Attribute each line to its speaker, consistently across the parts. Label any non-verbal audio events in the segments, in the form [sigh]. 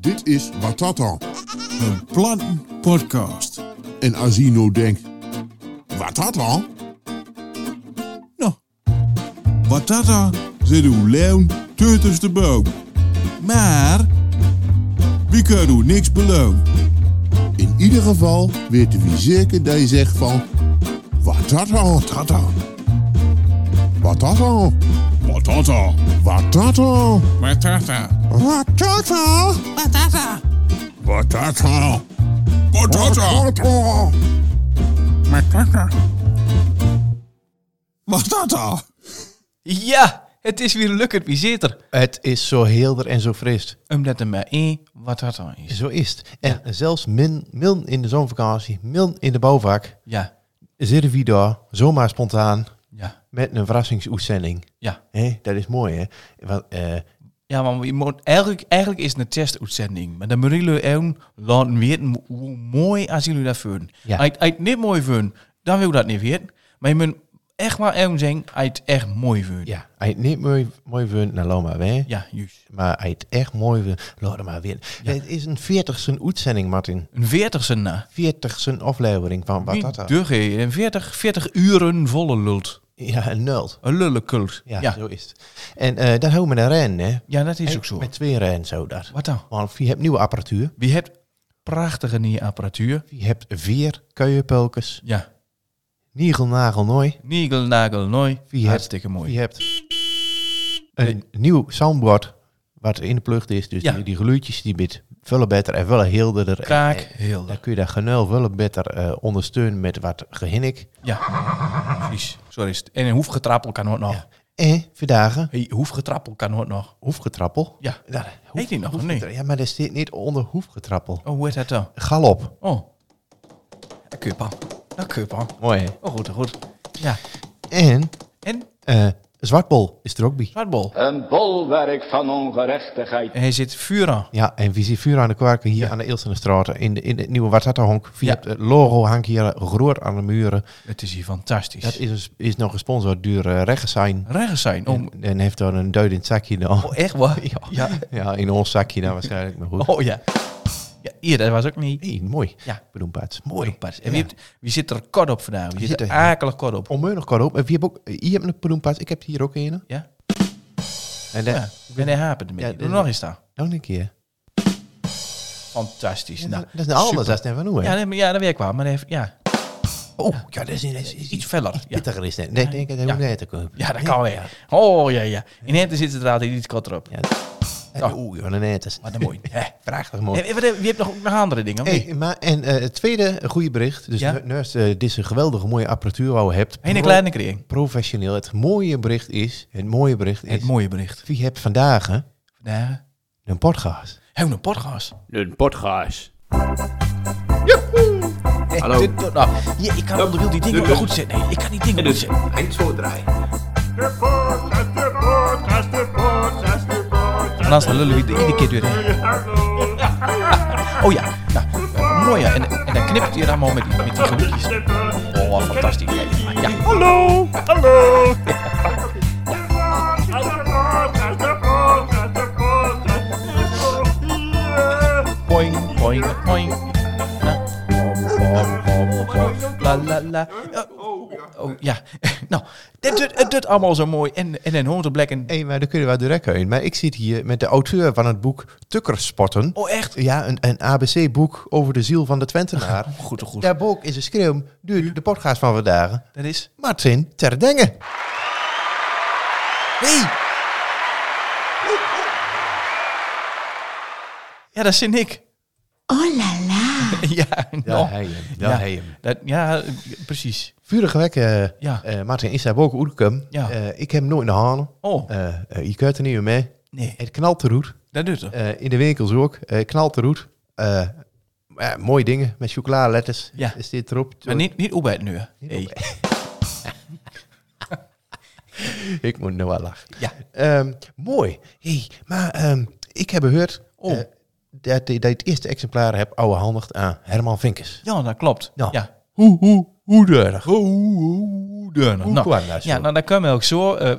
Speaker 1: Dit is Watata.
Speaker 2: Een plantenpodcast.
Speaker 1: En Azino denkt, Watata?
Speaker 2: Nou, Watata zit uw leeuw tussen de boom. Maar, wie kan u niks beloven?
Speaker 1: In ieder geval weten we zeker dat je zegt van, Watata, tata. Watata,
Speaker 2: Watata.
Speaker 1: Watata,
Speaker 2: Watata.
Speaker 1: Watata,
Speaker 2: Watata.
Speaker 1: Watata,
Speaker 2: Watata.
Speaker 1: Watata.
Speaker 2: Watata. Watata.
Speaker 3: Ja, het is weer lukkend wie zit er.
Speaker 4: Het is zo helder en zo fris.
Speaker 3: Omdat er maar één wat dat dan is.
Speaker 4: Zo is het. En zelfs min, min in de zomervakantie, min in de bouwvak,
Speaker 3: Ja,
Speaker 4: zitten we daar zomaar spontaan
Speaker 3: ja,
Speaker 4: met een verrassingsuitzending.
Speaker 3: ja.
Speaker 4: Hé, dat is mooi, hè? Want, eh,
Speaker 3: Ja, want je moet, eigenlijk, eigenlijk is het een testuitzending. Maar dan moet jullie even laten weten hoe mooi als jullie dat vinden.
Speaker 4: Ja.
Speaker 3: Als je het niet mooi vindt, dan wil je dat niet weten. Maar je moet echt maar even zeggen, als je het echt mooi vindt.
Speaker 4: ja, hij het niet mooi, mooi vindt, nou laat maar weer.
Speaker 3: Ja, juist.
Speaker 4: Maar hij het echt mooi vindt, laat hem maar weer. Het is een 40ste uitzending, Martin.
Speaker 3: Een veertigste na.
Speaker 4: 40ste aflevering van Watata.
Speaker 3: Dug, hé. Een veertig, veertig uren volle lult.
Speaker 4: Ja, een nul.
Speaker 3: Een lullenkult. Ja,
Speaker 4: Ja,
Speaker 3: ja.
Speaker 4: zo is het. En eh dat houden we met een ren, hè?
Speaker 3: dat is ook zo.
Speaker 4: Met twee ren zo dat.
Speaker 3: Wat dan?
Speaker 4: Want je hebt nieuwe apparatuur.
Speaker 3: Wie hebt prachtige nieuwe apparatuur.
Speaker 4: Je hebt vier kuienpelkers.
Speaker 3: Ja.
Speaker 4: Nigel nagel nooi.
Speaker 3: Nigel, nagel, nooi.
Speaker 4: Wie
Speaker 3: Hartstikke mooi.
Speaker 4: Je hebt een nieuw soundboard wat in de plucht is. Dus
Speaker 3: Ja.
Speaker 4: die, die geluidjes die bit veel beter en veel helderder. En-
Speaker 3: Kraak,
Speaker 4: en
Speaker 3: heel.
Speaker 4: Dan kun je dat genuil veel beter eh, ondersteunen met wat gehinnik.
Speaker 3: Ja, precies. Zo is het. En een hoefgetrappel kan ook nog.
Speaker 4: En vandaag eh,
Speaker 3: Hey, hoefgetrappel kan ook nog.
Speaker 4: hoefgetrappel.
Speaker 3: Ja.
Speaker 4: Nou,
Speaker 3: Heet die nog, of
Speaker 4: hoefgetra- Ja, maar dat zit niet onder hoefgetrappel.
Speaker 3: Oh, hoe heet dat dan?
Speaker 4: Galop.
Speaker 3: Oh. Dat kun je wel. Dat kun je wel.
Speaker 4: Mooi. hè?
Speaker 3: Oh, goed, goed. Ja.
Speaker 4: En
Speaker 3: En
Speaker 4: eh, zwartbol is er ook bij.
Speaker 3: zwartbol.
Speaker 5: Een bolwerk van ongerechtigheid.
Speaker 3: En hij zit vuur aan.
Speaker 4: Ja, en wie ziet vuur aan de kwarken hier aan de Eelsenstraat in, de, in het nieuwe Watata-honk. Via
Speaker 3: Ja.
Speaker 4: het logo hangt hier groot aan de muren.
Speaker 3: Het is hier fantastisch.
Speaker 4: Dat is, een s- is nog gesponsord door eh Reggesign.
Speaker 3: Rechts zijn. Oh,
Speaker 4: En heeft dan een duit in het zakje dan.
Speaker 3: oh, echt waar? Ja. ja.
Speaker 4: [laughs] Ja, in ons zakje dan waarschijnlijk. Maar goed.
Speaker 3: Oh, ja. Ja, hier, dat was ook niet.
Speaker 4: Hey, mooi.
Speaker 3: Ja.
Speaker 4: Bedoembaats. Mooi.
Speaker 3: Pas. En wie, hebt, wie zit er kort op vandaag? Wie zit
Speaker 4: zit
Speaker 3: er
Speaker 4: er-
Speaker 3: akelig kort op?
Speaker 4: Onmeunig kan ook. En eh, wie hebt ook, hier heb een bedoembaats. Ik heb hier ook een.
Speaker 3: Ja?
Speaker 4: En daar,
Speaker 3: Ja. Ik ben er hapen ermee.
Speaker 4: Ja,
Speaker 3: Doe
Speaker 4: dat-
Speaker 3: nog eens daar.
Speaker 4: Nog een keer.
Speaker 3: Fantastisch. nou,
Speaker 4: dat is een alles.
Speaker 3: super.
Speaker 4: Dat is net van hoe. hè?
Speaker 3: Ja, nee, maar ja, dat weet ik wel. Maar dat heeft, ja,
Speaker 4: oh, ja, dat is, dat is- is
Speaker 3: iets
Speaker 4: [laughs] iets
Speaker 3: feller. Ja.
Speaker 4: [laughs] pittiger. Is dat. Nee, ik denk dat
Speaker 3: Ja.
Speaker 4: hoeft niet te komen.
Speaker 3: Ja, dat kan weer. Oh ja, ja. In Henten zit het altijd iets korter op.
Speaker 4: Ja. eh,
Speaker 3: Oh.
Speaker 4: Oeh, [laughs] ja, nee, dat is
Speaker 3: Wat een mooi. Hè.
Speaker 4: prachtig mooi.
Speaker 3: En wat heb- Je hebt nog, nog andere dingen. of niet?
Speaker 4: Hey, maar, en eh, het tweede goede bericht. Dus
Speaker 3: Ja?
Speaker 4: nu naast eh, deze geweldige mooie apparatuur waar je hebt.
Speaker 3: Heen en
Speaker 4: pro-
Speaker 3: kleine kring.
Speaker 4: Professioneel. Het mooie bericht is. Het mooie bericht is.
Speaker 3: Het mooie bericht.
Speaker 4: Wie hebt vandaag hè,
Speaker 3: Vandaag
Speaker 4: een podcast?
Speaker 3: hebben we een podcast.
Speaker 5: Een podcast.
Speaker 3: Hallo. nou, hier, ik kan onderwiel die dingen wel goed zetten. Nee, ik kan die dingen goed zetten.
Speaker 5: En zo draai.
Speaker 3: En dan lullen we er iedere keer weer heen. Oh ja, nou, eh, mooi ja. En, en dan knipt hij er allemaal met, die- met die geluidjes. Oh, wat fantastisch. Ja, ja.
Speaker 6: Hallo, hallo.
Speaker 3: Boing, boing, boing. Na, bom, bom, bom, bom. La, la, la. Oh, oh, ja. [laughs] Nou, dit, dit, het doet allemaal zo mooi. En, en een hondenblek en...
Speaker 4: Hé, maar daar kunnen we wel direct heen. Maar ik zit hier met de auteur van het boek Tukkerspotten.
Speaker 3: Oh, echt?
Speaker 4: Ja, een, een ABC-boek over de ziel van de Twentenaar. [laughs]
Speaker 3: Goed, goed.
Speaker 4: Daarboven is een schreeuw. duur de podcast van vandaag.
Speaker 3: Dat is...
Speaker 4: Martin Terdengen.
Speaker 3: Hey! Ja, dat zin ik. Oh, la, la. [laughs] Ja, nou.
Speaker 4: hij hem.
Speaker 3: Ja. Dat, ja, precies.
Speaker 4: Vurige weg, eh,
Speaker 3: Ja.
Speaker 4: eh, Martin, is daar ook Oerkum.
Speaker 3: Ja.
Speaker 4: Eh, ik heb hem nooit in de handen.
Speaker 3: Oh,
Speaker 4: Eh, eh, je kunt er niet meer mee.
Speaker 3: nee.
Speaker 4: Het knalt te roet.
Speaker 3: Dat doet het.
Speaker 4: Eh, in de winkels ook. Eh knalt te roet. Eh, maar ja, mooie dingen met chocoladeletters.
Speaker 3: Ja.
Speaker 4: Is dit erop?
Speaker 3: Maar niet, niet op het nu. hè.
Speaker 4: Niet
Speaker 3: Nee.
Speaker 4: Ik moet nou wel lachen.
Speaker 3: Ja.
Speaker 4: Ehm, mooi. Hey, maar ehm, ik heb gehoord
Speaker 3: Oh.
Speaker 4: eh, dat, dat je het eerste exemplaar hebt overhandigd aan Herman Vinkers.
Speaker 3: Ja, dat klopt.
Speaker 4: Ja.
Speaker 3: Ja. Hoe, hoe, hoe deurig. Hoe, hoe deurig.
Speaker 4: Hoe kwam dat zo?
Speaker 3: Ja, nou, dat kwam ook zo. eh,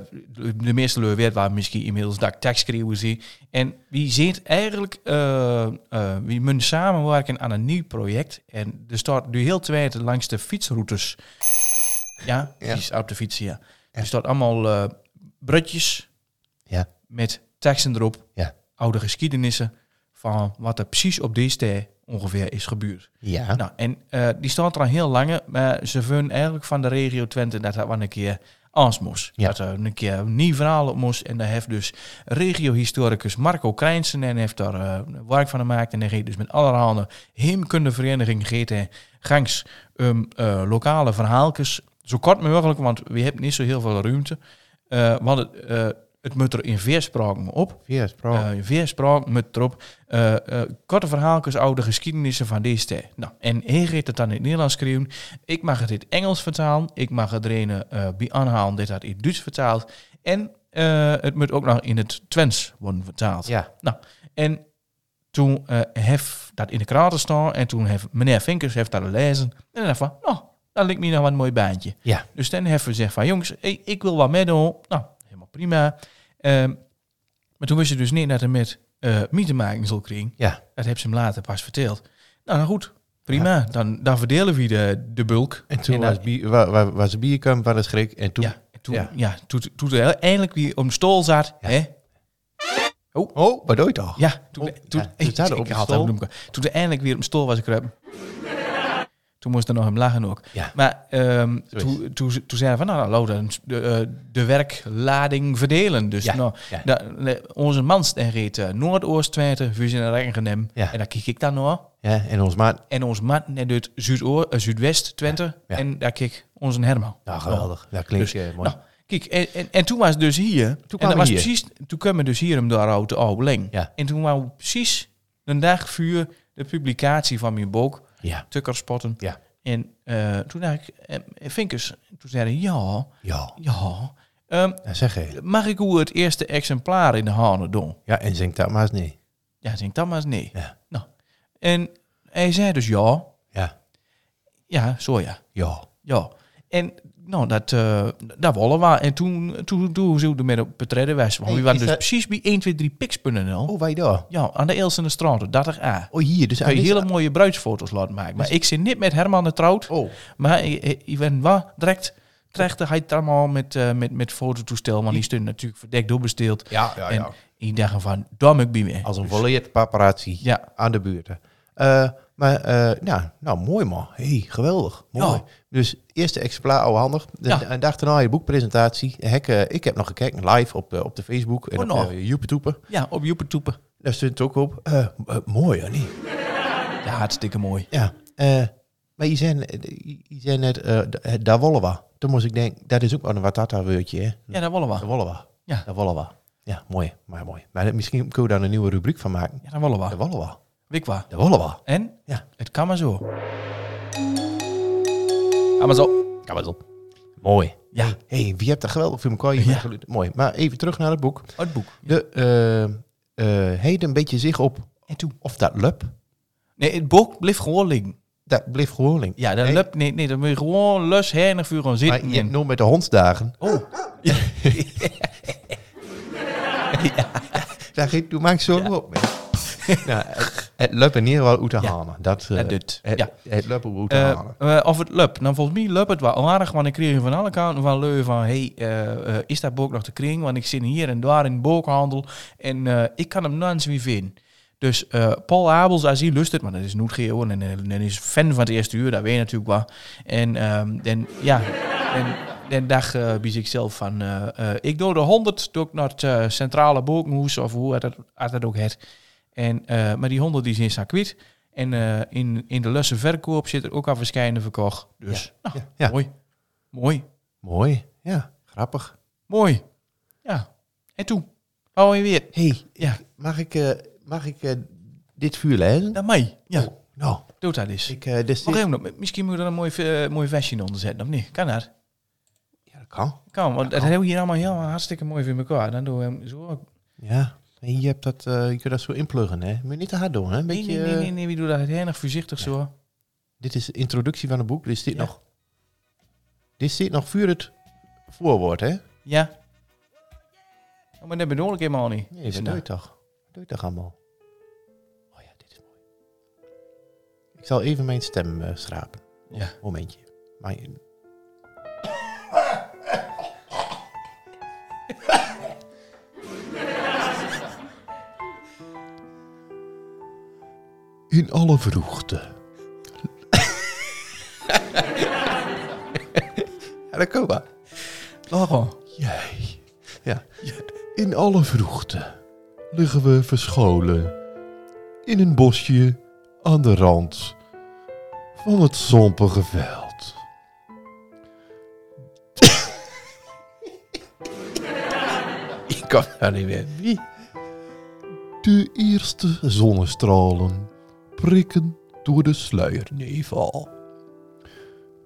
Speaker 3: de meeste lui weet waar misschien inmiddels dat ik tekst schreeuwen zie. En wie zit eigenlijk, eh eh wie mun samenwerken aan een nieuw project. En er staat nu heel twijfel langs de fietsroutes. Ja,
Speaker 4: Ja.
Speaker 3: precies, op de fietsen, ja. Er staat allemaal eh brutjes
Speaker 4: Ja.
Speaker 3: met teksten erop.
Speaker 4: Ja.
Speaker 3: Oude geschiedenissen van wat er precies op deze tijd ongeveer is gebeurd.
Speaker 4: Ja.
Speaker 3: Nou, en eh, die staat er al heel lang, maar ze vinden eigenlijk van de regio Twente dat dat wel een keer anders moest.
Speaker 4: Ja.
Speaker 3: Dat er een keer een nieuw verhaal op moest. En daar heeft dus regiohistoricus Marco Krijnsen en heeft daar eh, werk van gemaakt. En hij heeft dus met allerhande heemkundevereniging geeft hij gangs um, eh, lokale verhaaltjes zo kort mogelijk, want we hebben niet zo heel veel ruimte. Eh, want het, eh, het moet er in veerspraken op.
Speaker 4: Via Pro.
Speaker 3: Eh, weer spraak met erop. eh, eh, korte verhaaltjes, oude geschiedenissen van deze tijd. Nou, en hij gaat het dan in het Nederlands schreeuwen. Ik mag het in het Engels vertalen. Ik mag het er een eh, bij aanhalen dit had in het Duits vertaald. En eh, het moet ook nog in het Twents worden vertaald.
Speaker 4: ja.
Speaker 3: Nou, en toen eh heeft dat in de kraten staan. En toen heeft meneer Vinkers heeft dat lezen. En dan dacht ik van, nou, dat lijkt me nou wel een mooi baantje.
Speaker 4: Ja.
Speaker 3: Dus dan hebben we gezegd van jongens, ik, ik wil wat meedoen. Nou, helemaal prima. Ehm, maar toen wist je dus niet dat hij met eh mietenmaking zal krijgen.
Speaker 4: Ja.
Speaker 3: Dat heb ze hem later pas verteld. Nou, nou goed, prima. Dan, dan verdelen we de, de bulk.
Speaker 4: En toen
Speaker 3: En dan-
Speaker 4: was, bier, wa- wa- was de bierkamp van het schrik. En toen...
Speaker 3: ja, en toen, ja.
Speaker 4: Ja.
Speaker 3: toen, toen er eindelijk weer om de stoel zat. Hè?
Speaker 4: Oh, wat doe je toch?
Speaker 3: Ja, toen,
Speaker 4: Oh,
Speaker 3: toen,
Speaker 4: ja, toen
Speaker 3: ik-
Speaker 4: zaten we
Speaker 3: ik
Speaker 4: op de
Speaker 3: had
Speaker 4: stoel.
Speaker 3: hem noemen. Toen er eindelijk weer op stoel was ik ruim. Toen moest er nog hem lachen ook.
Speaker 4: Ja.
Speaker 3: Maar ehm,
Speaker 4: is
Speaker 3: toen, toen, ze- toen zeiden we van, nou, nou laten we de, eh, de werklading verdelen. Dus
Speaker 4: Ja,
Speaker 3: nou,
Speaker 4: ja.
Speaker 3: da- le- onze man reed eh, Noordoost Twente, Vuzen en Rengenem.
Speaker 4: Ja.
Speaker 3: En daar kijk ik dan naar.
Speaker 4: Ja, en ons maat.
Speaker 3: En ons man net uit Zuidoor, eh, Zuidwest Twente.
Speaker 4: ja.
Speaker 3: En daar kijk onze Herman.
Speaker 4: Nou, geweldig. Dat klinkt
Speaker 3: Dus,
Speaker 4: eh, mooi.
Speaker 3: nou, kijk, en, en, en toen was het dus hier. Toen, en
Speaker 4: kwamen
Speaker 3: dat
Speaker 4: we
Speaker 3: was
Speaker 4: hier.
Speaker 3: Precies, toen kwamen we dus hier om de oude oude leng.
Speaker 4: Ja.
Speaker 3: En toen wou precies een dag vuur de publicatie van mijn boek,
Speaker 4: Ja.
Speaker 3: Tukkerspotten.
Speaker 4: Ja.
Speaker 3: En eh, toen dacht ik, eh, Vinkers, toen zeiden ja,
Speaker 4: Ja.
Speaker 3: ja, ehm,
Speaker 4: Dat zeg je.
Speaker 3: mag ik hoe het eerste exemplaar in de handen doen?
Speaker 4: Ja, en zing dat maar eens niet.
Speaker 3: Ja, ik denk dat maar eens nee.
Speaker 4: Ja.
Speaker 3: Nou, en hij zei dus ja,
Speaker 4: Ja.
Speaker 3: ja, zo ja.
Speaker 4: Ja.
Speaker 3: Ja, en nou, dat, eh dat willen we. En toen, toen, toen ze er met op het redden was. Want
Speaker 4: Hey,
Speaker 3: we waren
Speaker 4: is
Speaker 3: dus
Speaker 4: dat-
Speaker 3: precies bij 123pix.nl.
Speaker 4: Oh, wij daar.
Speaker 3: Ja, aan de Elsene straat, 30a.
Speaker 4: Oh, hier. Dus
Speaker 3: ah. Kun je
Speaker 4: aan
Speaker 3: hele
Speaker 4: deze-
Speaker 3: mooie bruidsfoto's laten maken. Maar ik zit niet met Herman de Trout.
Speaker 4: Oh.
Speaker 3: Maar ik- ik ik ben wel direct terecht. Hij het allemaal met, eh, met, met fototoestel. Maar die stond natuurlijk verdekt doorbesteeld.
Speaker 4: Ja, ja, ja. Oh.
Speaker 3: En ik dacht van, daar moet ik bij mee.
Speaker 4: Als een volleerd paparazzi
Speaker 3: Dus- Ja.
Speaker 4: aan de buurt. Eh, maar eh, nou, nou, mooi man. hey, geweldig. Mooi.
Speaker 3: Ja.
Speaker 4: Dus eerste exemplaar ouwe handig. De,
Speaker 3: Nou. Ja.
Speaker 4: Een dag daarna je boekpresentatie. Hek, eh, ik heb nog gekeken live op, eh, op de Facebook en
Speaker 3: Oh,
Speaker 4: op
Speaker 3: nog.
Speaker 4: eh, YouTube.
Speaker 3: Ja, op Joepertoepen.
Speaker 4: Daar stond het ook op. Eh, eh, mooi, hoor niet?
Speaker 3: Ja, hartstikke mooi.
Speaker 4: Ja. eh, maar je zei, je zei net, eh, d- eh, daar wollen we. Toen moest ik denken, dat is ook wel een watata-woordje. hè?
Speaker 3: Ja, dat willen
Speaker 4: Daar
Speaker 3: we.
Speaker 4: wollen we.
Speaker 3: Ja.
Speaker 4: Daar wollen we. Ja, mooi. Maar mooi. Maar dat- misschien kunnen we daar een nieuwe rubriek van maken.
Speaker 3: Ja, dat willen
Speaker 4: Daar
Speaker 3: we.
Speaker 4: wollen we.
Speaker 3: Weet ik wat.
Speaker 4: Daar wollen we.
Speaker 3: En?
Speaker 4: Ja.
Speaker 3: Het kan maar zo. Kan maar zo. Oh,
Speaker 4: Kom eens op. Mooi.
Speaker 3: Ja.
Speaker 4: Hé, hey, wie hebt dat geweldig voor elkaar? hier?
Speaker 3: Ja.
Speaker 4: Mooi. Maar even terug naar het boek.
Speaker 3: Uit het boek.
Speaker 4: De eh eh heden een beetje zicht op
Speaker 3: En toe.
Speaker 4: of dat lup.
Speaker 3: Nee, het boek bleef gewoon liggen.
Speaker 4: Dat bleef gewoon link.
Speaker 3: Ja, dat
Speaker 4: Nee.
Speaker 3: lukt niet. Nee, dan moet je gewoon lus hernig vuur gaan
Speaker 4: Maar
Speaker 3: zitten.
Speaker 4: je hebt
Speaker 3: en-
Speaker 4: nog met de hondsdagen.
Speaker 3: Oh.
Speaker 4: [laughs] Daar ging, toen maak ik zo op mee. [laughs] nou, het, het lup in ieder geval uit te
Speaker 3: Ja.
Speaker 4: halen. Dat, eh,
Speaker 3: Dat doet,
Speaker 4: Het,
Speaker 3: ja.
Speaker 4: het lup uit te
Speaker 3: Eh,
Speaker 4: halen.
Speaker 3: eh, of het lukt. Nou, volgens mij lukt het wel aardig, want ik kreeg van alle kanten van leu van... hey, eh, eh, is dat boek nog te kring? Want ik zit hier en daar in de boekhandel en eh, ik kan hem nooit meer vinden. Dus eh, Paul Abels, als hij lust het, maar dat is Noetgeo en hij is fan van het eerste uur, dat weet je natuurlijk wel. En, ehm, en ja, en, en dacht eh bij zichzelf van... eh, eh, ik doe de 100 doe ik naar het eh, centrale boekhoes of hoe dat, had dat ook het. En, eh, maar die 100 die zijn zijn kwijt. En eh, in, in de lusse verkoop zit er ook al verschijnen verkocht. Dus nou,
Speaker 4: Ja, ja.
Speaker 3: mooi. Mooi.
Speaker 4: Mooi. Ja, grappig.
Speaker 3: Mooi. Ja. En toen? Hou je weer.
Speaker 4: hey,
Speaker 3: Ja,
Speaker 4: mag ik, eh, mag ik eh, dit vuur lezen?
Speaker 3: naar mij. Ja,
Speaker 4: Nou,
Speaker 3: doe dat eens.
Speaker 4: ik, eh dit
Speaker 3: Wacht even, nog, misschien moet je er een mooi, eh, mooi vestje onder zetten, of niet? Kan dat?
Speaker 4: Ja, dat kan.
Speaker 3: Kan, want dat hebben we hier allemaal heel hartstikke mooi voor elkaar. Dan doen we hem zo.
Speaker 4: Ja, en je, hebt dat, eh, je kunt dat zo inpluggen, hè? Moet je niet te hard doen, hè? Een
Speaker 3: Nee,
Speaker 4: beetje...
Speaker 3: nee, nee, nee,
Speaker 4: eh,
Speaker 3: nee, we doen dat heel erg voorzichtig zo.
Speaker 4: Dit is de introductie van het boek. Dit zit nog. Dit zit nog voor het voorwoord, hè?
Speaker 3: Ja. Oh, maar dat bedoel ik helemaal niet.
Speaker 4: Nee,
Speaker 3: Is
Speaker 4: dat
Speaker 3: het
Speaker 4: doe je
Speaker 3: nou-
Speaker 4: toch? Wat doe je toch allemaal? Oh ja, dit is mooi. Ik zal even mijn stem eh, schrapen.
Speaker 3: Ja.
Speaker 4: Momentje. Mijn, In alle vroegte. [laughs] ja, dat kan wel.
Speaker 3: Lachen.
Speaker 4: Jij. Ja. In alle vroegte liggen we verscholen in een bosje aan de rand van het zompige veld. [laughs] Ik kan daar niet meer. Wie? De eerste zonnestralen prikken door de sluiernevel.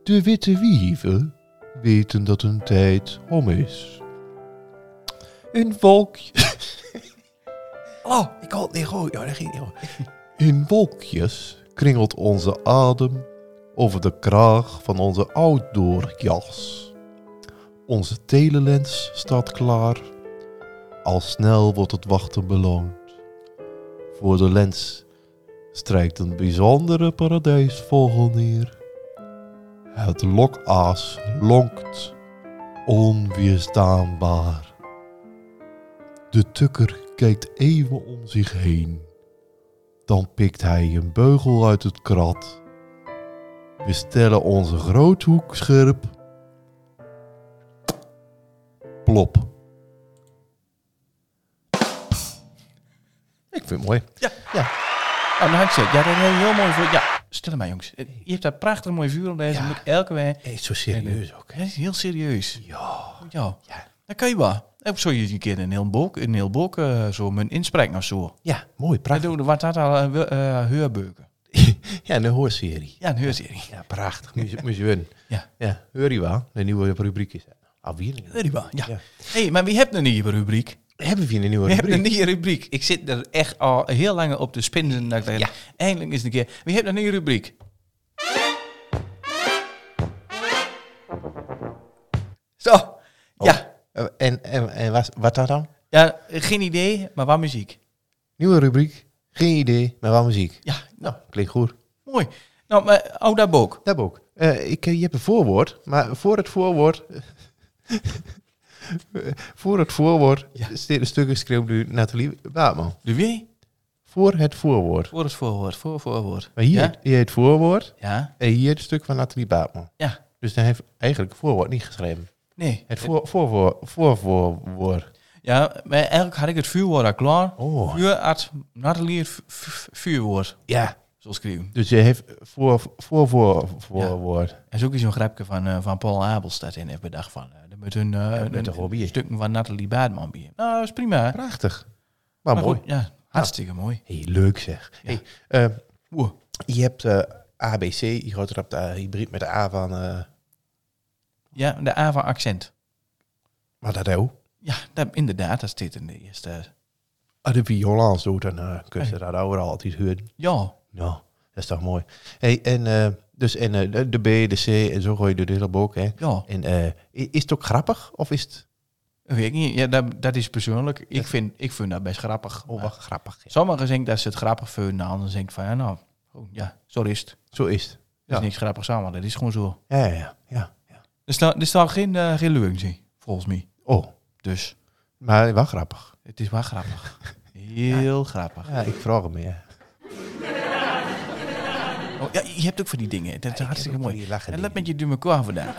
Speaker 4: De witte wieven weten dat hun tijd om is. Een wolkje. [laughs] Hallo, ik kon het niet goed. Ja, dat ging niet goed. In wolkjes kringelt onze adem over de kraag van onze outdoorjas. Onze telelens staat klaar. Al snel wordt het wachten beloond. Voor de lens strijkt een bijzondere paradijsvogel neer. Het lokaas lonkt onweerstaanbaar. De tukker kijkt even om zich heen. Dan pikt hij een beugel uit het krat. We stellen onze groothoek scherp. Plop. Ik vind het mooi.
Speaker 3: Oh, nou, ik zeg, ja, dat heb je heel mooi voor. Ja, stil maar, jongens. Eh, Je hebt dat prachtig mooi vuur om deze.
Speaker 4: Ja.
Speaker 3: Moet ik elke week.
Speaker 4: Hey, zo serieus ook.
Speaker 3: Dat is heel serieus.
Speaker 4: Ja.
Speaker 3: Ja.
Speaker 4: Ja.
Speaker 3: Dat kan je wel. Ook zo je eens een keer een heel boek, een heel boek eh, zo mijn inspreken of zo.
Speaker 4: ja, mooi.
Speaker 3: Dat
Speaker 4: Prachtig.
Speaker 3: doen we wat dat al eh, wel, eh, heurbeuken.
Speaker 4: [laughs] Ja, een hoorserie.
Speaker 3: Ja, een heurserie.
Speaker 4: Ja, prachtig. Moest, moest je winnen.
Speaker 3: Ja.
Speaker 4: ja. Hoor je wel? De nieuwe rubriek is... Ah, weer een-
Speaker 3: Heurbaar. Ja.
Speaker 4: Ja.
Speaker 3: hey, maar wie hebt een nieuwe rubriek?
Speaker 4: Hebben we weer een nieuwe
Speaker 3: We hebben
Speaker 4: rubriek?
Speaker 3: een nieuwe rubriek. Ik zit er echt al heel lang op te spinzen. Dat ik dacht, Eindelijk is het een keer. Wie hebt een nieuwe rubriek? Zo.
Speaker 4: Oh.
Speaker 3: Ja.
Speaker 4: Eh, En, en, en wat, wat dat dan?
Speaker 3: ja, geen idee, maar waar muziek.
Speaker 4: Nieuwe rubriek. Geen idee, maar wel muziek.
Speaker 3: Ja, nou,
Speaker 4: Klinkt goed.
Speaker 3: mooi. Nou, maar Ouda Book.
Speaker 4: Dat ook. Eh, ik, eh, je hebt een voorwoord, maar voor het voorwoord... [laughs] voor het voorwoord
Speaker 3: Ja.
Speaker 4: staat een stuk geschreven door Nathalie Baatman.
Speaker 3: De wie?
Speaker 4: Voor het voorwoord.
Speaker 3: Voor het voorwoord, voor het voorwoord.
Speaker 4: Maar hier,
Speaker 3: Ja?
Speaker 4: hier het voorwoord
Speaker 3: Ja,
Speaker 4: en Eh, hier het stuk van Nathalie Baatman.
Speaker 3: ja.
Speaker 4: Dus hij heeft eigenlijk het voorwoord niet geschreven.
Speaker 3: Nee.
Speaker 4: Het voor, voorwoord. voorwoord.
Speaker 3: Ja, maar eigenlijk had ik het vuurwoord al klaar.
Speaker 4: Oh.
Speaker 3: Vuur had Nathalie het vu- vu- vuurwoord,
Speaker 4: Ja.
Speaker 3: zo schreeuwen.
Speaker 4: Dus je heeft voor, voor, voor, voorwoord.
Speaker 3: Er is ook zo'n grapje van, eh, van Paul Abels dat in heeft bedacht van. eh, er moet een, eh,
Speaker 4: moet toch wel bij.
Speaker 3: een stukken van Nathalie Baatman bij. Nou, dat is prima. Maar
Speaker 4: Prachtig. Maar, mooi.
Speaker 3: goed, ja, hartstikke mooi.
Speaker 4: Hey, leuk zeg.
Speaker 3: Ja.
Speaker 4: Hey, eh,
Speaker 3: Oeh.
Speaker 4: je hebt eh, ABC, je gaat er op de hybrid met de A van... eh
Speaker 3: Ja, de A van accent.
Speaker 4: maar dat ook.
Speaker 3: Ja, dat, inderdaad, dat zit in de eerste.
Speaker 4: Ah, de violans doet en eh kun je dat overal altijd horen.
Speaker 3: Ja,
Speaker 4: Nou, dat is toch mooi. Hey, en eh, dus en, eh, de- de B, de C en zo gooi je door de hele boek. Hè.
Speaker 3: ja.
Speaker 4: En eh, i- is het ook grappig of is het...
Speaker 3: Dat Weet ik niet. Ja, dat, dat is persoonlijk. Ik vind, ik vind dat best grappig.
Speaker 4: Oh,
Speaker 3: Maar
Speaker 4: wat grappig. ja.
Speaker 3: Sommigen denken dat ze het grappig vinden, anderen denken van, ja, nou, oh, ja, zo is het.
Speaker 4: Zo is het.
Speaker 3: Er is
Speaker 4: Ja.
Speaker 3: niks grappigs aan, maar dat is gewoon zo.
Speaker 4: Ja, ja, ja. ja, ja.
Speaker 3: Er staat, er staat geen, eh, geen leugens in, volgens mij.
Speaker 4: Oh,
Speaker 3: Dus
Speaker 4: maar wel grappig.
Speaker 3: het is wel grappig.
Speaker 4: [laughs]
Speaker 3: Heel grappig.
Speaker 4: Ja, ik vraag hem, ja.
Speaker 3: Oh, ja, je hebt ook van die dingen. Dat is hartstikke
Speaker 4: ook van
Speaker 3: mooi.
Speaker 4: die lachen
Speaker 3: En dat
Speaker 4: dingen.
Speaker 3: met je doe elkaar vandaag.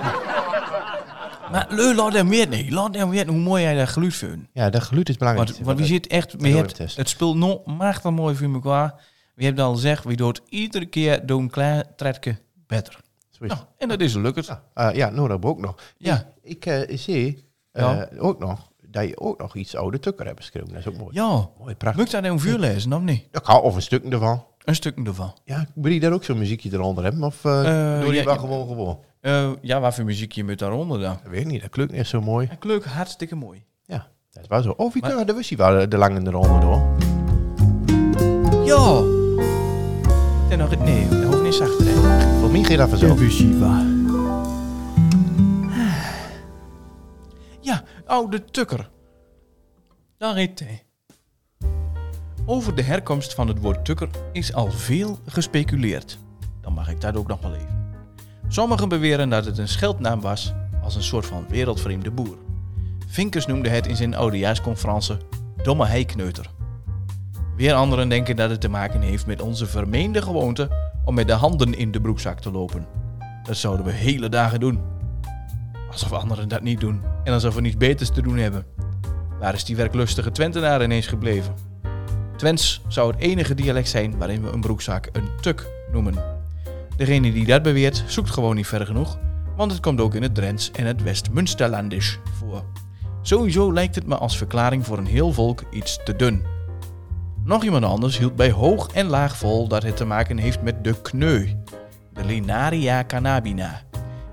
Speaker 3: maar leu, laat hem weer niet. Laat hem weer hoe mooi hij dat geluid vindt.
Speaker 4: Ja, dat geluid is belangrijk.
Speaker 3: Want, want wie
Speaker 4: dat-
Speaker 3: zit echt... We
Speaker 4: dat
Speaker 3: hebt,
Speaker 4: hoort het.
Speaker 3: het speelt nog machtig mooi voor elkaar. We hebben al gezegd, we doen het iedere keer door een klein tredje beter.
Speaker 4: Zo is het.
Speaker 3: Nou, en dat is gelukkig. Ja.
Speaker 4: Ah, ja, nou, dat heb ik ook nog.
Speaker 3: Ja.
Speaker 4: Ik, ik, eh, zie eh,
Speaker 3: Ja.
Speaker 4: ook nog dat je ook nog iets oude tukker hebt geschreven. Dat is ook mooi. Mooi, prachtig.
Speaker 3: Moet ik dat in een vuur lezen, of niet?
Speaker 4: Dat kan, of een stuk ervan.
Speaker 3: Een stuk ervan.
Speaker 4: Ja, wil je daar ook zo'n muziekje eronder hebben? Of eh
Speaker 3: Eh,
Speaker 4: doe je
Speaker 3: ja,
Speaker 4: wel
Speaker 3: ja.
Speaker 4: gewoon gewoon?
Speaker 3: Eh, ja, wat voor muziek je met daaronder dan?
Speaker 4: Dat weet ik niet, dat klinkt niet zo mooi.
Speaker 3: En kleur hartstikke mooi.
Speaker 4: Ja, dat is wel zo. Of je
Speaker 3: Maar-
Speaker 4: kan, dat wist je wel, eh, de lange eronder door.
Speaker 3: Ja! En nog, nee, dat hoeft niet is zachter, hè?
Speaker 4: Voor mij ging dat vanzelf.
Speaker 3: Ja, oude tukker. Daar heet hij. Over de herkomst van het woord tukker is al veel gespeculeerd. Dan mag ik dat ook nog wel even. Sommigen beweren dat het een scheldnaam was als een soort van wereldvreemde boer. Vinkers noemde het in zijn oudejaarsconferentie domme heikneuter. Weer anderen denken dat het te maken heeft met onze vermeende gewoonte om met de handen in de broekzak te lopen. Dat zouden we hele dagen doen. Alsof anderen dat niet doen en alsof we niets beters te doen hebben. Waar is die werklustige Twentenaar ineens gebleven? Twents zou het enige dialect zijn waarin we een broekzak een tuk noemen. Degene die dat beweert zoekt gewoon niet ver genoeg, want het komt ook in het Drents en het West-Munsterlandisch voor. Sowieso lijkt het me als verklaring voor een heel volk iets te dun. Nog iemand anders hield bij hoog en laag vol dat het te maken heeft met de kneu, de Linaria cannabina.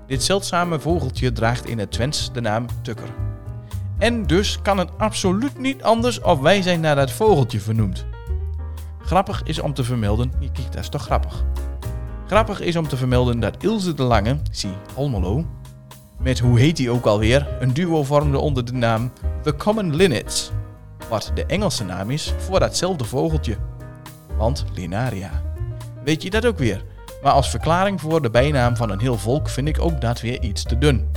Speaker 3: Dit zeldzame vogeltje draagt in het Twents de naam tukker. En dus kan het absoluut niet anders of wij zijn naar dat vogeltje vernoemd. Grappig is om te vermelden, je kijkt, dat is toch grappig. Grappig is om te vermelden dat Ilse de Lange, zie Almelo, met hoe heet hij ook alweer, een duo vormde onder de naam The Common Linnets. Wat de Engelse naam is voor datzelfde vogeltje. Want Linaria. Weet je dat ook weer? Maar als verklaring voor de bijnaam van een heel volk vind ik ook dat weer iets te dun.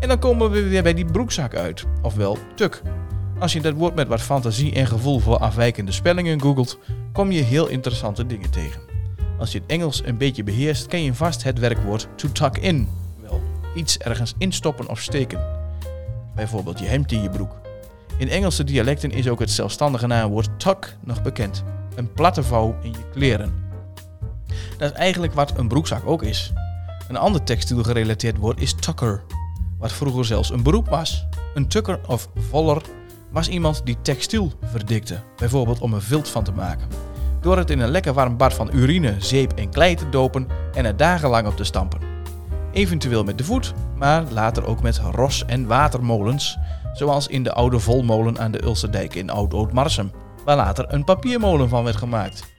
Speaker 3: En dan komen we weer bij die broekzak uit, ofwel tuk. Als je dat woord met wat fantasie en gevoel voor afwijkende spellingen googelt, kom je heel interessante dingen tegen. Als je het Engels een beetje beheerst, ken je vast het werkwoord to tuck in. Wel, iets ergens instoppen of steken. Bijvoorbeeld je hemd in je broek. In Engelse dialecten is ook het zelfstandige naamwoord tuck nog bekend. Een platte vouw in je kleren. Dat is eigenlijk wat een broekzak ook is. Een ander textielgerelateerd woord is tucker, wat vroeger zelfs een beroep was. Een tukker of voller was iemand die textiel verdikte, bijvoorbeeld om een vilt van te maken. Door het in een lekker warm bad van urine, zeep en klei te dopen en er dagenlang op te stampen. Eventueel met de voet, maar later ook met ros- en watermolens, zoals in de oude volmolen aan de Ulsterdijk in Oud-Oud-Marsum, waar later een papiermolen van werd gemaakt.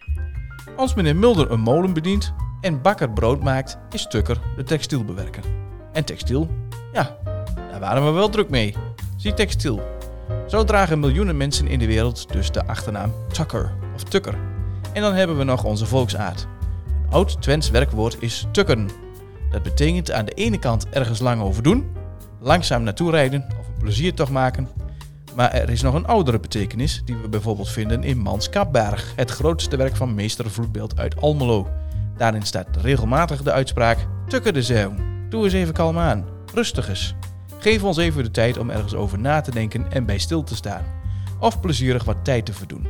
Speaker 3: Als meneer Mulder een molen bedient en bakker brood maakt, is Tukker de textielbewerker. En textiel? Ja, daar waren we wel druk mee. Zie textiel. Zo dragen miljoenen mensen in de wereld dus de achternaam Tucker of Tukker. En dan hebben we nog onze volksaard. Een oud Twents werkwoord is tukken. Dat betekent aan de ene kant ergens lang over doen, langzaam naartoe rijden of een pleziertocht maken, maar er is nog een oudere betekenis die we bijvoorbeeld vinden in Mans Kapberg, het grootste werk van meester Vloedbeeld uit Almelo. Daarin staat regelmatig de uitspraak: Tukken de zeeuw, doe eens even kalm aan, rustig eens. Geef ons even de tijd om ergens over na te denken en bij stil te staan. Of plezierig wat tijd te verdoen.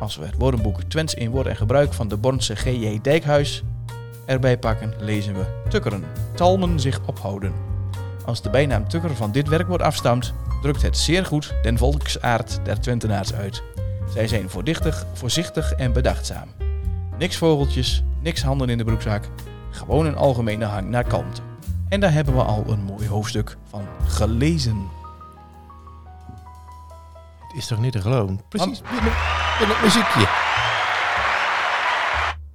Speaker 3: Als we het woordenboek Twents in woord en gebruik van de Bornse G.J. Dijkhuis erbij pakken, lezen we tukkeren, talmen zich ophouden. Als de bijnaam tukker van dit werkwoord afstamt, drukt het zeer goed den volksaard der Twentenaars uit. Zij zijn voordichtig, voorzichtig en bedachtzaam. Niks vogeltjes, niks handen in de broekzak, gewoon een algemene hang naar kalmte. En daar hebben we al een mooi hoofdstuk van gelezen.
Speaker 4: Het is toch niet te geloven? Precies in het- in het muziekje.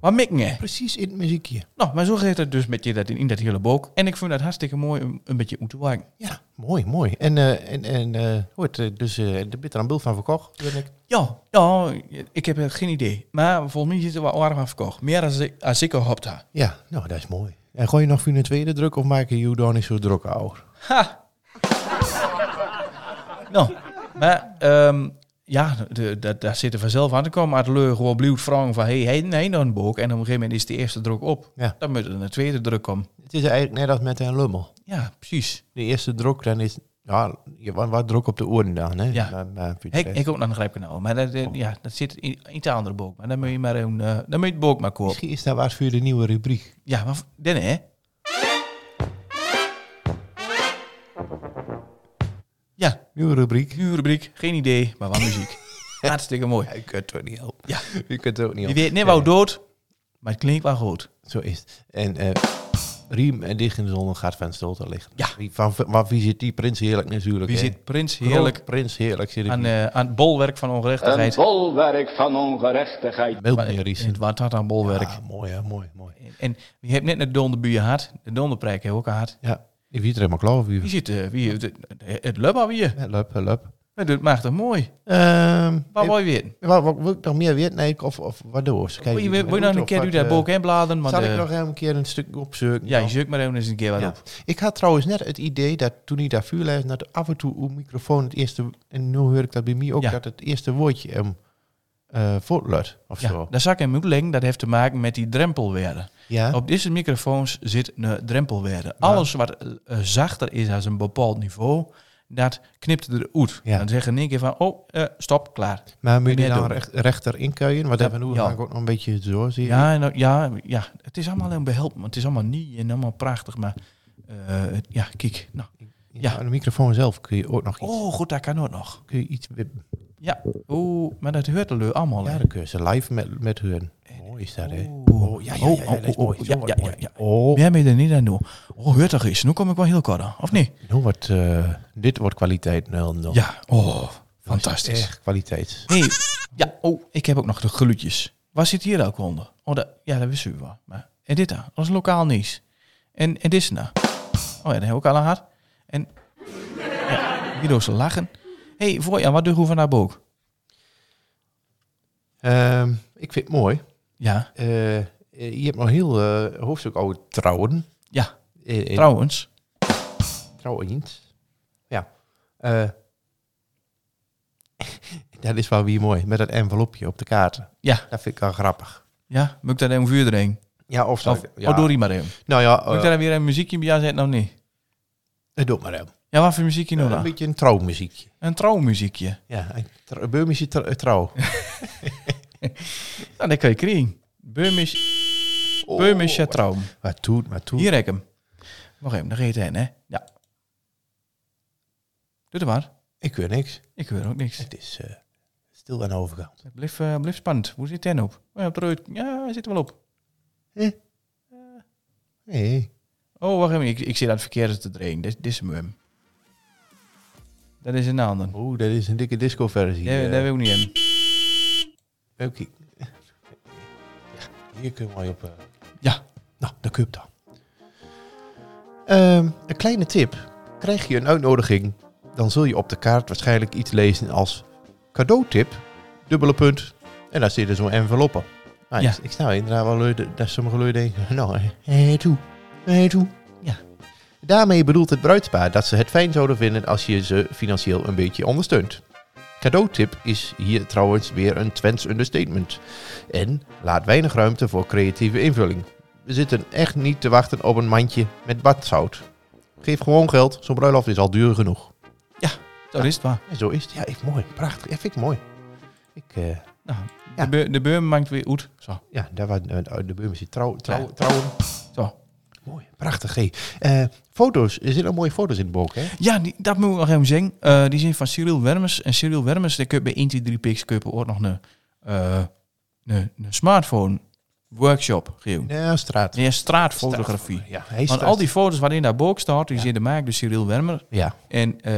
Speaker 3: Maar mikken
Speaker 4: Precies in het muziekje.
Speaker 3: Nou, maar zo gaat het dus met je dat in, in dat hele boek. En ik vind dat hartstikke mooi om een beetje moeten wagen.
Speaker 4: Ja, mooi, mooi. En, eh en, en eh, hoort eh, dus eh, de bitter aan bult van verkocht, ben ik.
Speaker 3: Ja, ja, ik heb echt geen idee. Maar volgens mij zitten we warm aan verkocht. Meer als ik, als ik erop had.
Speaker 4: Ja, nou, dat is mooi. En gooi je nog voor een tweede druk of maak je je dan niet zo druk ouder?
Speaker 3: Ha! nou, maar ehm, ja, de, de- daar zitten vanzelf aan te komen. Maar het leur gewoon blieuwd vragen van, hey, hey, nee, dan een boek. En op een gegeven moment is de eerste druk op.
Speaker 4: Ja.
Speaker 3: Dan moet er een tweede druk komen.
Speaker 4: Het is eigenlijk net als met een lummel.
Speaker 3: Ja, precies.
Speaker 4: De eerste druk, dan is... Ja, je wat, wat druk op de oren dan, hè?
Speaker 3: Ja.
Speaker 4: Maar- maar voor de
Speaker 3: Ik,
Speaker 4: rest-
Speaker 3: ik ook naar een grijpkanaal. Maar dat, dat- ja, dat zit in in de andere boek. Maar dan moet je, maar een, eh, dan moet je het boek maar kopen.
Speaker 4: Misschien is dat wat voor de nieuwe rubriek.
Speaker 3: Ja, maar v- dan hè? Ja,
Speaker 4: Nieuwe rubriek?
Speaker 3: nieuwe rubriek. Geen idee, maar wel
Speaker 4: [laughs]
Speaker 3: muziek. Hartstikke mooi.
Speaker 4: Ja, [laughs] je kunt het ook niet helpen.
Speaker 3: Ja.
Speaker 4: Je kunt het ook niet
Speaker 3: Je
Speaker 4: helpen.
Speaker 3: weet niet wou dood, maar het klinkt wel goed.
Speaker 4: Zo is het. En eh, Riem en dicht in de zon en gaat Van Stolten liggen.
Speaker 3: Ja.
Speaker 4: Wie, van, waar, wie zit die prins heerlijk natuurlijk?
Speaker 3: Wie
Speaker 4: hè?
Speaker 3: zit Prins
Speaker 4: Groot
Speaker 3: heerlijk
Speaker 4: prins heerlijk zit ik
Speaker 3: aan,
Speaker 4: hier.
Speaker 3: eh, aan het bolwerk van
Speaker 5: Een
Speaker 3: ongerechtigheid?
Speaker 5: bolwerk van ongerechtigheid.
Speaker 4: Meld
Speaker 3: Maar-
Speaker 4: meneer Ries.
Speaker 3: in het Watata bolwerk.
Speaker 4: Ja, mooi hè, mooi, mooi.
Speaker 3: En- En je hebt net naar donderbuien gehad. De donderprijk heeft ook gehad.
Speaker 4: Ja, die wiet er helemaal klaar voor.
Speaker 3: Wie zit eh, wie, het, het lubba weer.
Speaker 4: Help, help, help.
Speaker 3: Maar dat maakt het mooi.
Speaker 4: eh, Ehm,
Speaker 3: Wat
Speaker 4: ik-
Speaker 3: wil je weten?
Speaker 4: wat, wat wil ik nog meer weten? Nee, of, of waardoor? Ze
Speaker 3: Wil
Speaker 4: kijken
Speaker 3: je,
Speaker 4: niet
Speaker 3: wil je
Speaker 4: goed
Speaker 3: nog een
Speaker 4: of
Speaker 3: keer
Speaker 4: wat,
Speaker 3: uit dat
Speaker 4: eh,
Speaker 3: boek inbladen? Want,
Speaker 4: Zal
Speaker 3: eh,
Speaker 4: ik nog even een keer een stuk opzoeken?
Speaker 3: ja,
Speaker 4: dan?
Speaker 3: je zoekt maar even eens een keer wat
Speaker 4: Ja.
Speaker 3: op.
Speaker 4: Ik had trouwens net het idee dat toen ik daar vuurlijst dat af en toe uw microfoon het eerste... En nu hoor ik dat bij mij ook,
Speaker 3: Ja.
Speaker 4: dat het eerste woordje hem eh voortluidt of
Speaker 3: Ja,
Speaker 4: zo.
Speaker 3: dat zak en muggling, dat heeft te maken met die drempelwaarde.
Speaker 4: Ja?
Speaker 3: Op deze microfoons zit een drempelwaarde. Alles wat eh, zachter is als een bepaald niveau, dat knipt eruit.
Speaker 4: Ja.
Speaker 3: Dan zeggen in één keer van, oh, eh, stop, klaar.
Speaker 4: maar moet je
Speaker 3: meer
Speaker 4: dan
Speaker 3: doen.
Speaker 4: recht, rechter inkuien? Want
Speaker 3: Ja,
Speaker 4: even nu
Speaker 3: ja.
Speaker 4: ga ik ook nog een beetje zo zien.
Speaker 3: Ja, en dan- ja, ja, het is allemaal een behelp, want het is allemaal nieuw en allemaal prachtig. Maar eh, ja, kijk. Nou. ja.
Speaker 4: Aan de microfoon zelf kun je ook nog iets...
Speaker 3: Oh, goed, dat kan ook nog.
Speaker 4: Kun je iets wippen.
Speaker 3: Ja, Oeh, maar dat hoort er allemaal. hè?
Speaker 4: Ja, dan kun je ze live met, met hun. Mooi is dat, hè?
Speaker 3: Oeh.
Speaker 4: Oh, ja, ja, ja, ja,
Speaker 3: Oh,
Speaker 4: dat is
Speaker 3: oh,
Speaker 4: mooi.
Speaker 3: oh,
Speaker 4: Zo
Speaker 3: ja,
Speaker 4: wat
Speaker 3: ja,
Speaker 4: mooi.
Speaker 3: ja, ja.
Speaker 4: Oh,
Speaker 3: Jij bent er niet aan doen. Oh, hoort er eens. Nu kom ik wel heel kort aan, of niet?
Speaker 4: nou wat... eh, dit wordt kwaliteit 0-0.
Speaker 3: Ja, oh, fantastisch.
Speaker 4: Echt kwaliteit.
Speaker 3: Hey, ja, oh, ik heb ook nog de geluidjes. Waar zit hier ook onder? Oh, dat, ja, dat wist u wel. Maar, en dit daar, dat is lokaal nieuws. En, en dit is nou. Oh ja, dat heb ik al aan gehad. En ja, hierdoor ze lachen. Hé, hey, voor ja, wat doe je van haar boek?
Speaker 4: Ehm, ik vind het mooi.
Speaker 3: Ja,
Speaker 4: Eh, eh, je hebt nog een heel eh, hoofdstuk over trouwen.
Speaker 3: ja,
Speaker 4: Eh, eh,
Speaker 3: trouwens.
Speaker 4: Trouwens. Ja. Eh, [laughs] dat is wel weer mooi. Met dat envelopje op de kaarten.
Speaker 3: Ja,
Speaker 4: Dat vind ik wel grappig.
Speaker 3: ja, moet ik daar even vuur erin?
Speaker 4: Ja, of zo.
Speaker 3: Of,
Speaker 4: ja.
Speaker 3: oh, doe die maar even.
Speaker 4: Nou ja,
Speaker 3: Moet ik
Speaker 4: eh,
Speaker 3: daar weer een muziekje bij jou zetten of niet?
Speaker 4: eh, doe het maar even.
Speaker 3: Ja, wat voor muziekje nou
Speaker 4: Eh, een
Speaker 3: dan?
Speaker 4: beetje een trouwmuziekje.
Speaker 3: Een trouwmuziekje.
Speaker 4: Ja, een tr- Beurmische tr- eh, trouw.
Speaker 3: Nou, dat kan je krijgen. eh, Beurmisch,
Speaker 4: Oh,
Speaker 3: Beurmische trouw.
Speaker 4: Wat doet, wat doet.
Speaker 3: Hier heb ik hem. Wacht even, daar reed hij heen, hè? Ja. Doe er maar.
Speaker 4: Ik weet niks.
Speaker 3: Ik hoor ook niks.
Speaker 4: Het is eh, stil aan de overkant.
Speaker 3: Het blijft eh, blijft spannend. Hoe zit hij nou op? Oh, ja, op de reut. Ja, hij zit er wel op.
Speaker 4: Nee.
Speaker 3: Oh, wacht even. Ik, ik zit aan het verkeerde te draaien. Dit, dit is hem. Dat is een ander.
Speaker 4: Oeh, dat is een dikke disco-versie.
Speaker 3: Nee,
Speaker 4: eh.
Speaker 3: Dat wil ik niet hebben.
Speaker 4: Oké. Hier kun je mooi op. eh,
Speaker 3: Ja.
Speaker 4: Nou, de cup dan. Ehm, een kleine tip. Krijg je een uitnodiging, dan zul je op de kaart waarschijnlijk iets lezen als cadeautip, dubbele punt. En daar zitten zo'n enveloppen. Nou,
Speaker 3: Ja.
Speaker 4: ik, ik snap inderdaad wel leuk dat- dat sommige lui denken, [laughs] nou, hé hey, toe, hé hey, toe.
Speaker 3: Ja.
Speaker 4: Daarmee bedoelt het bruidspaar dat ze het fijn zouden vinden als je ze financieel een beetje ondersteunt. Cadeautip is hier trouwens weer een Twents understatement. En laat weinig ruimte voor creatieve invulling. We zitten echt niet te wachten op een mandje met badzout. Geef gewoon geld, zo'n bruiloft is al duur genoeg.
Speaker 3: Zo is het waar.
Speaker 4: En zo is het. Ja, ik, mooi. Prachtig. Ja, vind ik mooi. Ik, eh,
Speaker 3: Nou,
Speaker 4: Ja.
Speaker 3: de, beur, de beur maakt weer goed. Zo.
Speaker 4: ja, daar waar eh, de buurman zit trouw, trouw,
Speaker 3: Ja.
Speaker 4: trouwen.
Speaker 3: Zo.
Speaker 4: Mooi. Prachtig. Hey. Eh, foto's. Er zitten mooie foto's in het boek, hè?
Speaker 3: Ja, die, dat moet ik nog even zeggen. Eh, die zijn van Cyril Wermers. En Cyril Wermers, daar kun je bij 1, 2, 3 Pix kun je ook nog een, eh, een, een smartphone workshop geven.
Speaker 4: Ja, straat.
Speaker 3: Meer straatfotografie.
Speaker 4: Ja, hij
Speaker 3: Want
Speaker 4: is straat-
Speaker 3: al die foto's waarin daar boek staat, die zijn gemaakt door Cyril Wermer.
Speaker 4: Ja.
Speaker 3: En eh,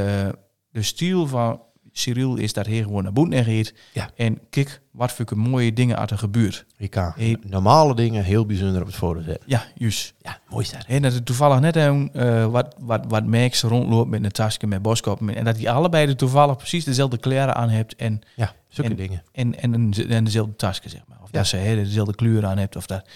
Speaker 3: de stijl van Cyril is dat hij gewoon naar boeten gaat.
Speaker 4: Ja.
Speaker 3: En kijk wat voor mooie dingen uit er gebeurt.
Speaker 4: Je kan
Speaker 3: Hey.
Speaker 4: normale dingen heel bijzonder op het foto zetten.
Speaker 3: Ja, juist.
Speaker 4: Ja, mooi staat.
Speaker 3: En dat er toevallig net een, eh, wat, wat, wat Max rondloopt met een tasje met boskop. En dat die allebei er toevallig precies dezelfde kleren aan hebt en,
Speaker 4: Ja, zulke
Speaker 3: En-
Speaker 4: dingen.
Speaker 3: en, en, een- en dezelfde tasje, zeg maar. Of
Speaker 4: Ja.
Speaker 3: dat ze hè, dezelfde kleur aan hebt. Of dat.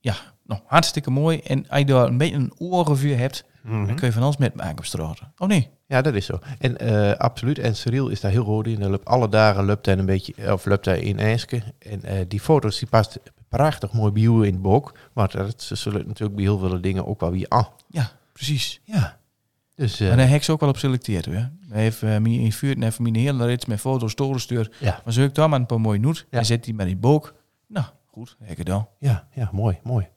Speaker 3: Ja, nou, hartstikke mooi. En als je daar een beetje een oorgevuur hebt,
Speaker 4: Mhm.
Speaker 3: dan kun je van alles met maken op straat. Oh nee.
Speaker 4: Ja, dat is zo. En eh, absoluut. En Cyril is daar heel goed in. Hij loopt alle dagen loopt hij een beetje, eh, of loopt hij in Eijske. En eh, die foto's die past prachtig mooi bij jou in het boek. Maar eh, dat, ze zullen natuurlijk bij heel veel dingen ook wel weer aan.
Speaker 3: Ja, precies.
Speaker 4: Ja. Dus eh,
Speaker 3: En daar heb ik ze ook wel op selecteerd hoor. Hij heeft uh, mij invuurd en heeft mij een hele rits met foto's doorgestuurd.
Speaker 4: ja,
Speaker 3: Maar zoek daar maar een paar mooie noot
Speaker 4: Ja.
Speaker 3: en zet die maar in die boek. Nou, goed, heb ik het al.
Speaker 4: ja, ja, mooi, mooi.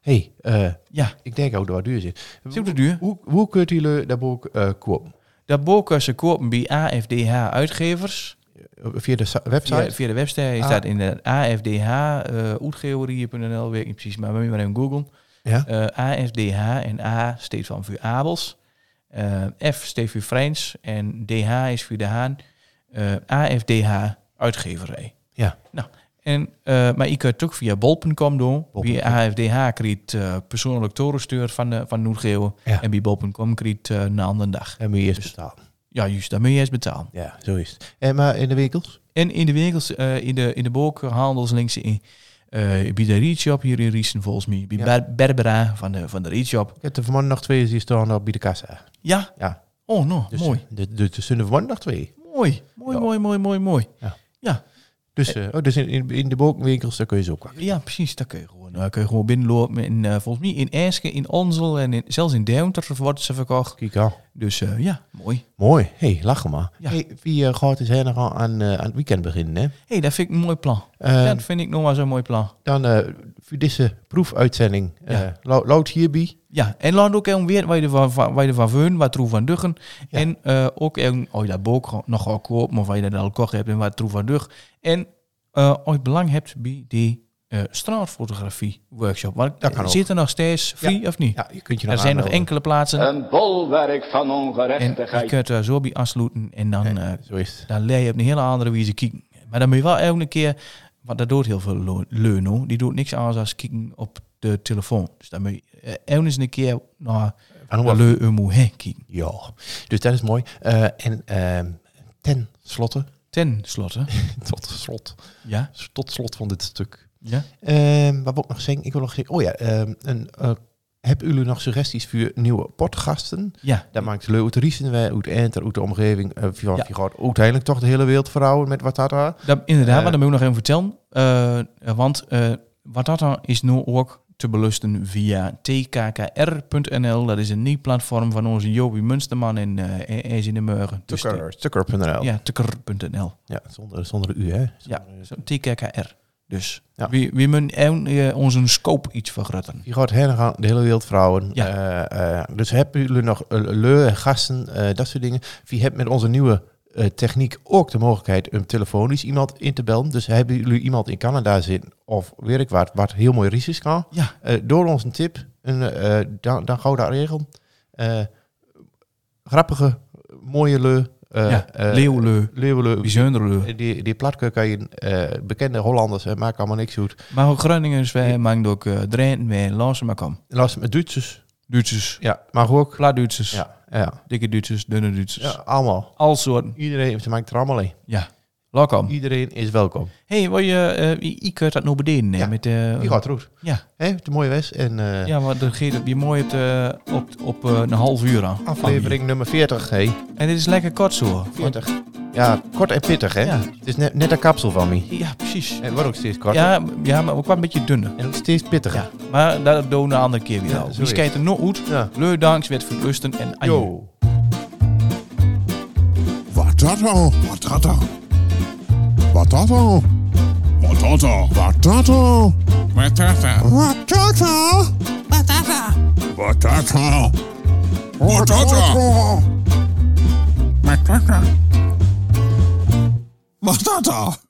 Speaker 4: Hé, hey,
Speaker 3: Ja,
Speaker 4: ik denk ook dat het duur zit.
Speaker 3: is ook te duur.
Speaker 4: Hoe, hoe kunt jullie dat boek eh kopen?
Speaker 3: Dat boek eh, ze kopen bij AFDH uitgevers.
Speaker 4: Eh, Via de sa-
Speaker 3: Via,
Speaker 4: website?
Speaker 3: via de website
Speaker 4: Ah.
Speaker 3: staat in de AFDH, eh oetgeorieën.nl, weet ik niet precies, maar moet je maar even googlen.
Speaker 4: Ja.
Speaker 3: Eh, A is DH en A staat van voor Abels. Eh, F staat voor Freins en DH is voor De Haan. Eh, A is DH uitgeverij.
Speaker 4: Ja.
Speaker 3: Nou, en, eh, maar je kunt het ook via bol.com doen. Bij AFDH krijgt eh, persoonlijk torenstuur van, eh, van Noordgeeuwen.
Speaker 4: Ja.
Speaker 3: En bij bol.com krijgt eh een andere dag.
Speaker 4: En moet je eerst betalen.
Speaker 3: Ja, juist, dat moet je eerst betalen.
Speaker 4: Ja, zo is het. En maar in de winkels?
Speaker 3: En in de winkels, eh, in de, in de boekhandels links in, eh, bij de Reachop hier in Riesen volgens mij. Bij
Speaker 4: Ja.
Speaker 3: Ber- Berbera van de, van de Reachop.
Speaker 4: Ik heb er vanmorgen nog twee zien staan op bij de kassa.
Speaker 3: Ja.
Speaker 4: Ja.
Speaker 3: Oh, nou,
Speaker 4: Dus,
Speaker 3: mooi.
Speaker 4: Dus, dus er zijn er vanmorgen nog twee.
Speaker 3: Mooi, mooi,
Speaker 4: Ja.
Speaker 3: mooi, mooi, mooi, mooi.
Speaker 4: Ja.
Speaker 3: Ja,
Speaker 4: Dus, eh, oh, dus in, in, in de boekwinkels, daar kun je ze ook pakken.
Speaker 3: ja, precies. Daar kun je gewoon, daar kun je gewoon binnenlopen. En, eh, volgens mij in Eeske, in Onzel en in, zelfs in Deventer wordt ze verkocht.
Speaker 4: Kijk aan.
Speaker 3: Dus eh, ja, mooi.
Speaker 4: Mooi. Hé, hey, lachen maar.
Speaker 3: Ja.
Speaker 4: Hey, wie eh, gaat dus nog aan, aan, eh, aan het weekend beginnen? Hè?
Speaker 3: Hé, hey, dat vind ik een mooi plan.
Speaker 4: Eh,
Speaker 3: dat vind ik nog maar zo'n mooi plan.
Speaker 4: Dan eh, voor deze proefuitzending, eh
Speaker 3: Ja.
Speaker 4: lou- loud hierbij.
Speaker 3: Ja, en laat ook even weer waar je ervan- van- waar je ervan veunt, wat troef van duggen.
Speaker 4: Ja.
Speaker 3: En eh, ook even, als je dat boek gewoon nog al koopt, maar waar je dat al gekocht hebt en wat troef van dug. En eh, als je belang hebt bij die eh, straatfotografie workshop. Want
Speaker 4: Dat kan ook.
Speaker 3: zit er nog steeds free of niet?
Speaker 4: Ja, je kunt je
Speaker 3: er
Speaker 4: nog
Speaker 3: zijn nog
Speaker 4: aanmelden.
Speaker 3: enkele plaatsen.
Speaker 5: Een bolwerk van
Speaker 3: en eh, je
Speaker 5: ongerechtigheid.
Speaker 3: kunt er zo bij afsluiten en dan, eh
Speaker 4: Zo is het.
Speaker 3: dan leer je op een hele andere wijze kijken. Maar dan moet je wel even een keer, want dat doet heel veel lo- leun hoor. Die doet niks anders als kijken op de telefoon. Dus dan moet je eh, even eens een keer naar
Speaker 4: Van
Speaker 3: de
Speaker 4: hoe-
Speaker 3: leun moet heen kijken.
Speaker 4: Ja, dus dat is mooi. Eh, en ehm, ten slotte,
Speaker 3: Ten slotte,
Speaker 4: [laughs] tot slot,
Speaker 3: ja,
Speaker 4: tot slot van dit stuk.
Speaker 3: ja.
Speaker 4: Ehm, wat wil ik nog zeggen? Ik wil nog zeggen, oh ja, ehm een, eh, hebben jullie nog suggesties voor nieuwe podgasten?
Speaker 3: ja.
Speaker 4: Dat maakt leuk uit Riesen, wij, uit Enter, uit de omgeving. eh van,
Speaker 3: Ja.
Speaker 4: Je gaat uiteindelijk toch de hele wereld verhouden met wat dat daar.
Speaker 3: Dat, inderdaad,
Speaker 4: Eh.
Speaker 3: maar dat moet ik nog even vertellen. Eh, eh, want eh, wat dat dan is nu ook te belusten via tkkr.nl. Dat is een nieuw platform van onze Jobie Munsterman en eh hij is in de Meugen. Dus
Speaker 4: Tucker, Tucker.nl.
Speaker 3: die-
Speaker 4: Ja,
Speaker 3: ja, tukker.nl.
Speaker 4: zonder, zonder de u, hè?
Speaker 3: Ja, zo TKKR. Dus
Speaker 4: Ja.
Speaker 3: wie, wie moet even, eh, onze scope iets vergroten.
Speaker 4: Je gaat heen gaan, de hele wereld vrouwen.
Speaker 3: Ja.
Speaker 4: Eh, eh, dus hebben jullie nog eh, leuke gasten, eh, dat soort dingen. Wie hebt met onze nieuwe eh, techniek ook de mogelijkheid om telefonisch iemand in te bellen. Dus hebben jullie iemand in Canada zitten of weet ik wat, wat heel mooi risico's kan.
Speaker 3: Ja,
Speaker 4: Eh, door ons een tip, een, eh, dan, dan gauw daar regel. Eh, grappige, mooie leu. eh,
Speaker 3: ja.
Speaker 4: eh,
Speaker 3: Leeuwleu,
Speaker 4: leeuwenleu. Eh,
Speaker 3: bijzonderleu.
Speaker 4: Die, die platke kan je eh, bekende Hollanders, eh, maakt allemaal niks uit.
Speaker 3: Maar ook Groningers, wij maken ook eh Drenten, wij Lansen, maar kom.
Speaker 4: Last met Duitsers.
Speaker 3: Duitsers,
Speaker 4: Ja, maar ook.
Speaker 3: plat Duitsers,
Speaker 4: Ja, ja,
Speaker 3: dikke Duitsers, dunne Duitsers.
Speaker 4: ja, allemaal.
Speaker 3: Al soorten.
Speaker 4: Iedereen, ze maakt er allemaal in.
Speaker 3: Ja, welkom.
Speaker 4: Iedereen is welkom.
Speaker 3: hey, wil je, eh ik kunt dat nou beneden hè,
Speaker 4: Ja,
Speaker 3: met de...
Speaker 4: Die gaat roet.
Speaker 3: Ja,
Speaker 4: Hé, de mooie Wes en eh,
Speaker 3: ja, maar dan geeft het je mooi op, de- op, op eh, een half uur aan.
Speaker 4: aflevering nummer 40. Hé,
Speaker 3: En dit is lekker kort zo. want-
Speaker 4: 40. Ja, kort en pittig, hè?
Speaker 3: Ja.
Speaker 4: Het is net, net een kapsel van me.
Speaker 3: ja, precies.
Speaker 4: En wordt ook steeds kort.
Speaker 3: Ja, m- ja, maar ook wel een beetje dunner.
Speaker 4: En ook steeds pittiger.
Speaker 3: Ja, maar dat doen we een andere keer weer
Speaker 4: Ja,
Speaker 3: al.
Speaker 4: zo
Speaker 3: Die
Speaker 4: is.
Speaker 3: kijkt er nog uit.
Speaker 4: Ja.
Speaker 3: Leu danks, werd verlusten en aan je.
Speaker 4: Yo.
Speaker 1: Wat dat al?
Speaker 2: Wat dat dan?
Speaker 1: Wat dat al?
Speaker 2: Wat dat dan?
Speaker 1: Wat dat al?
Speaker 2: Wat dat dan?
Speaker 1: Wat dat al? Wat dat al? Wat dat al?
Speaker 2: Wat dat dan? Wat dat dan?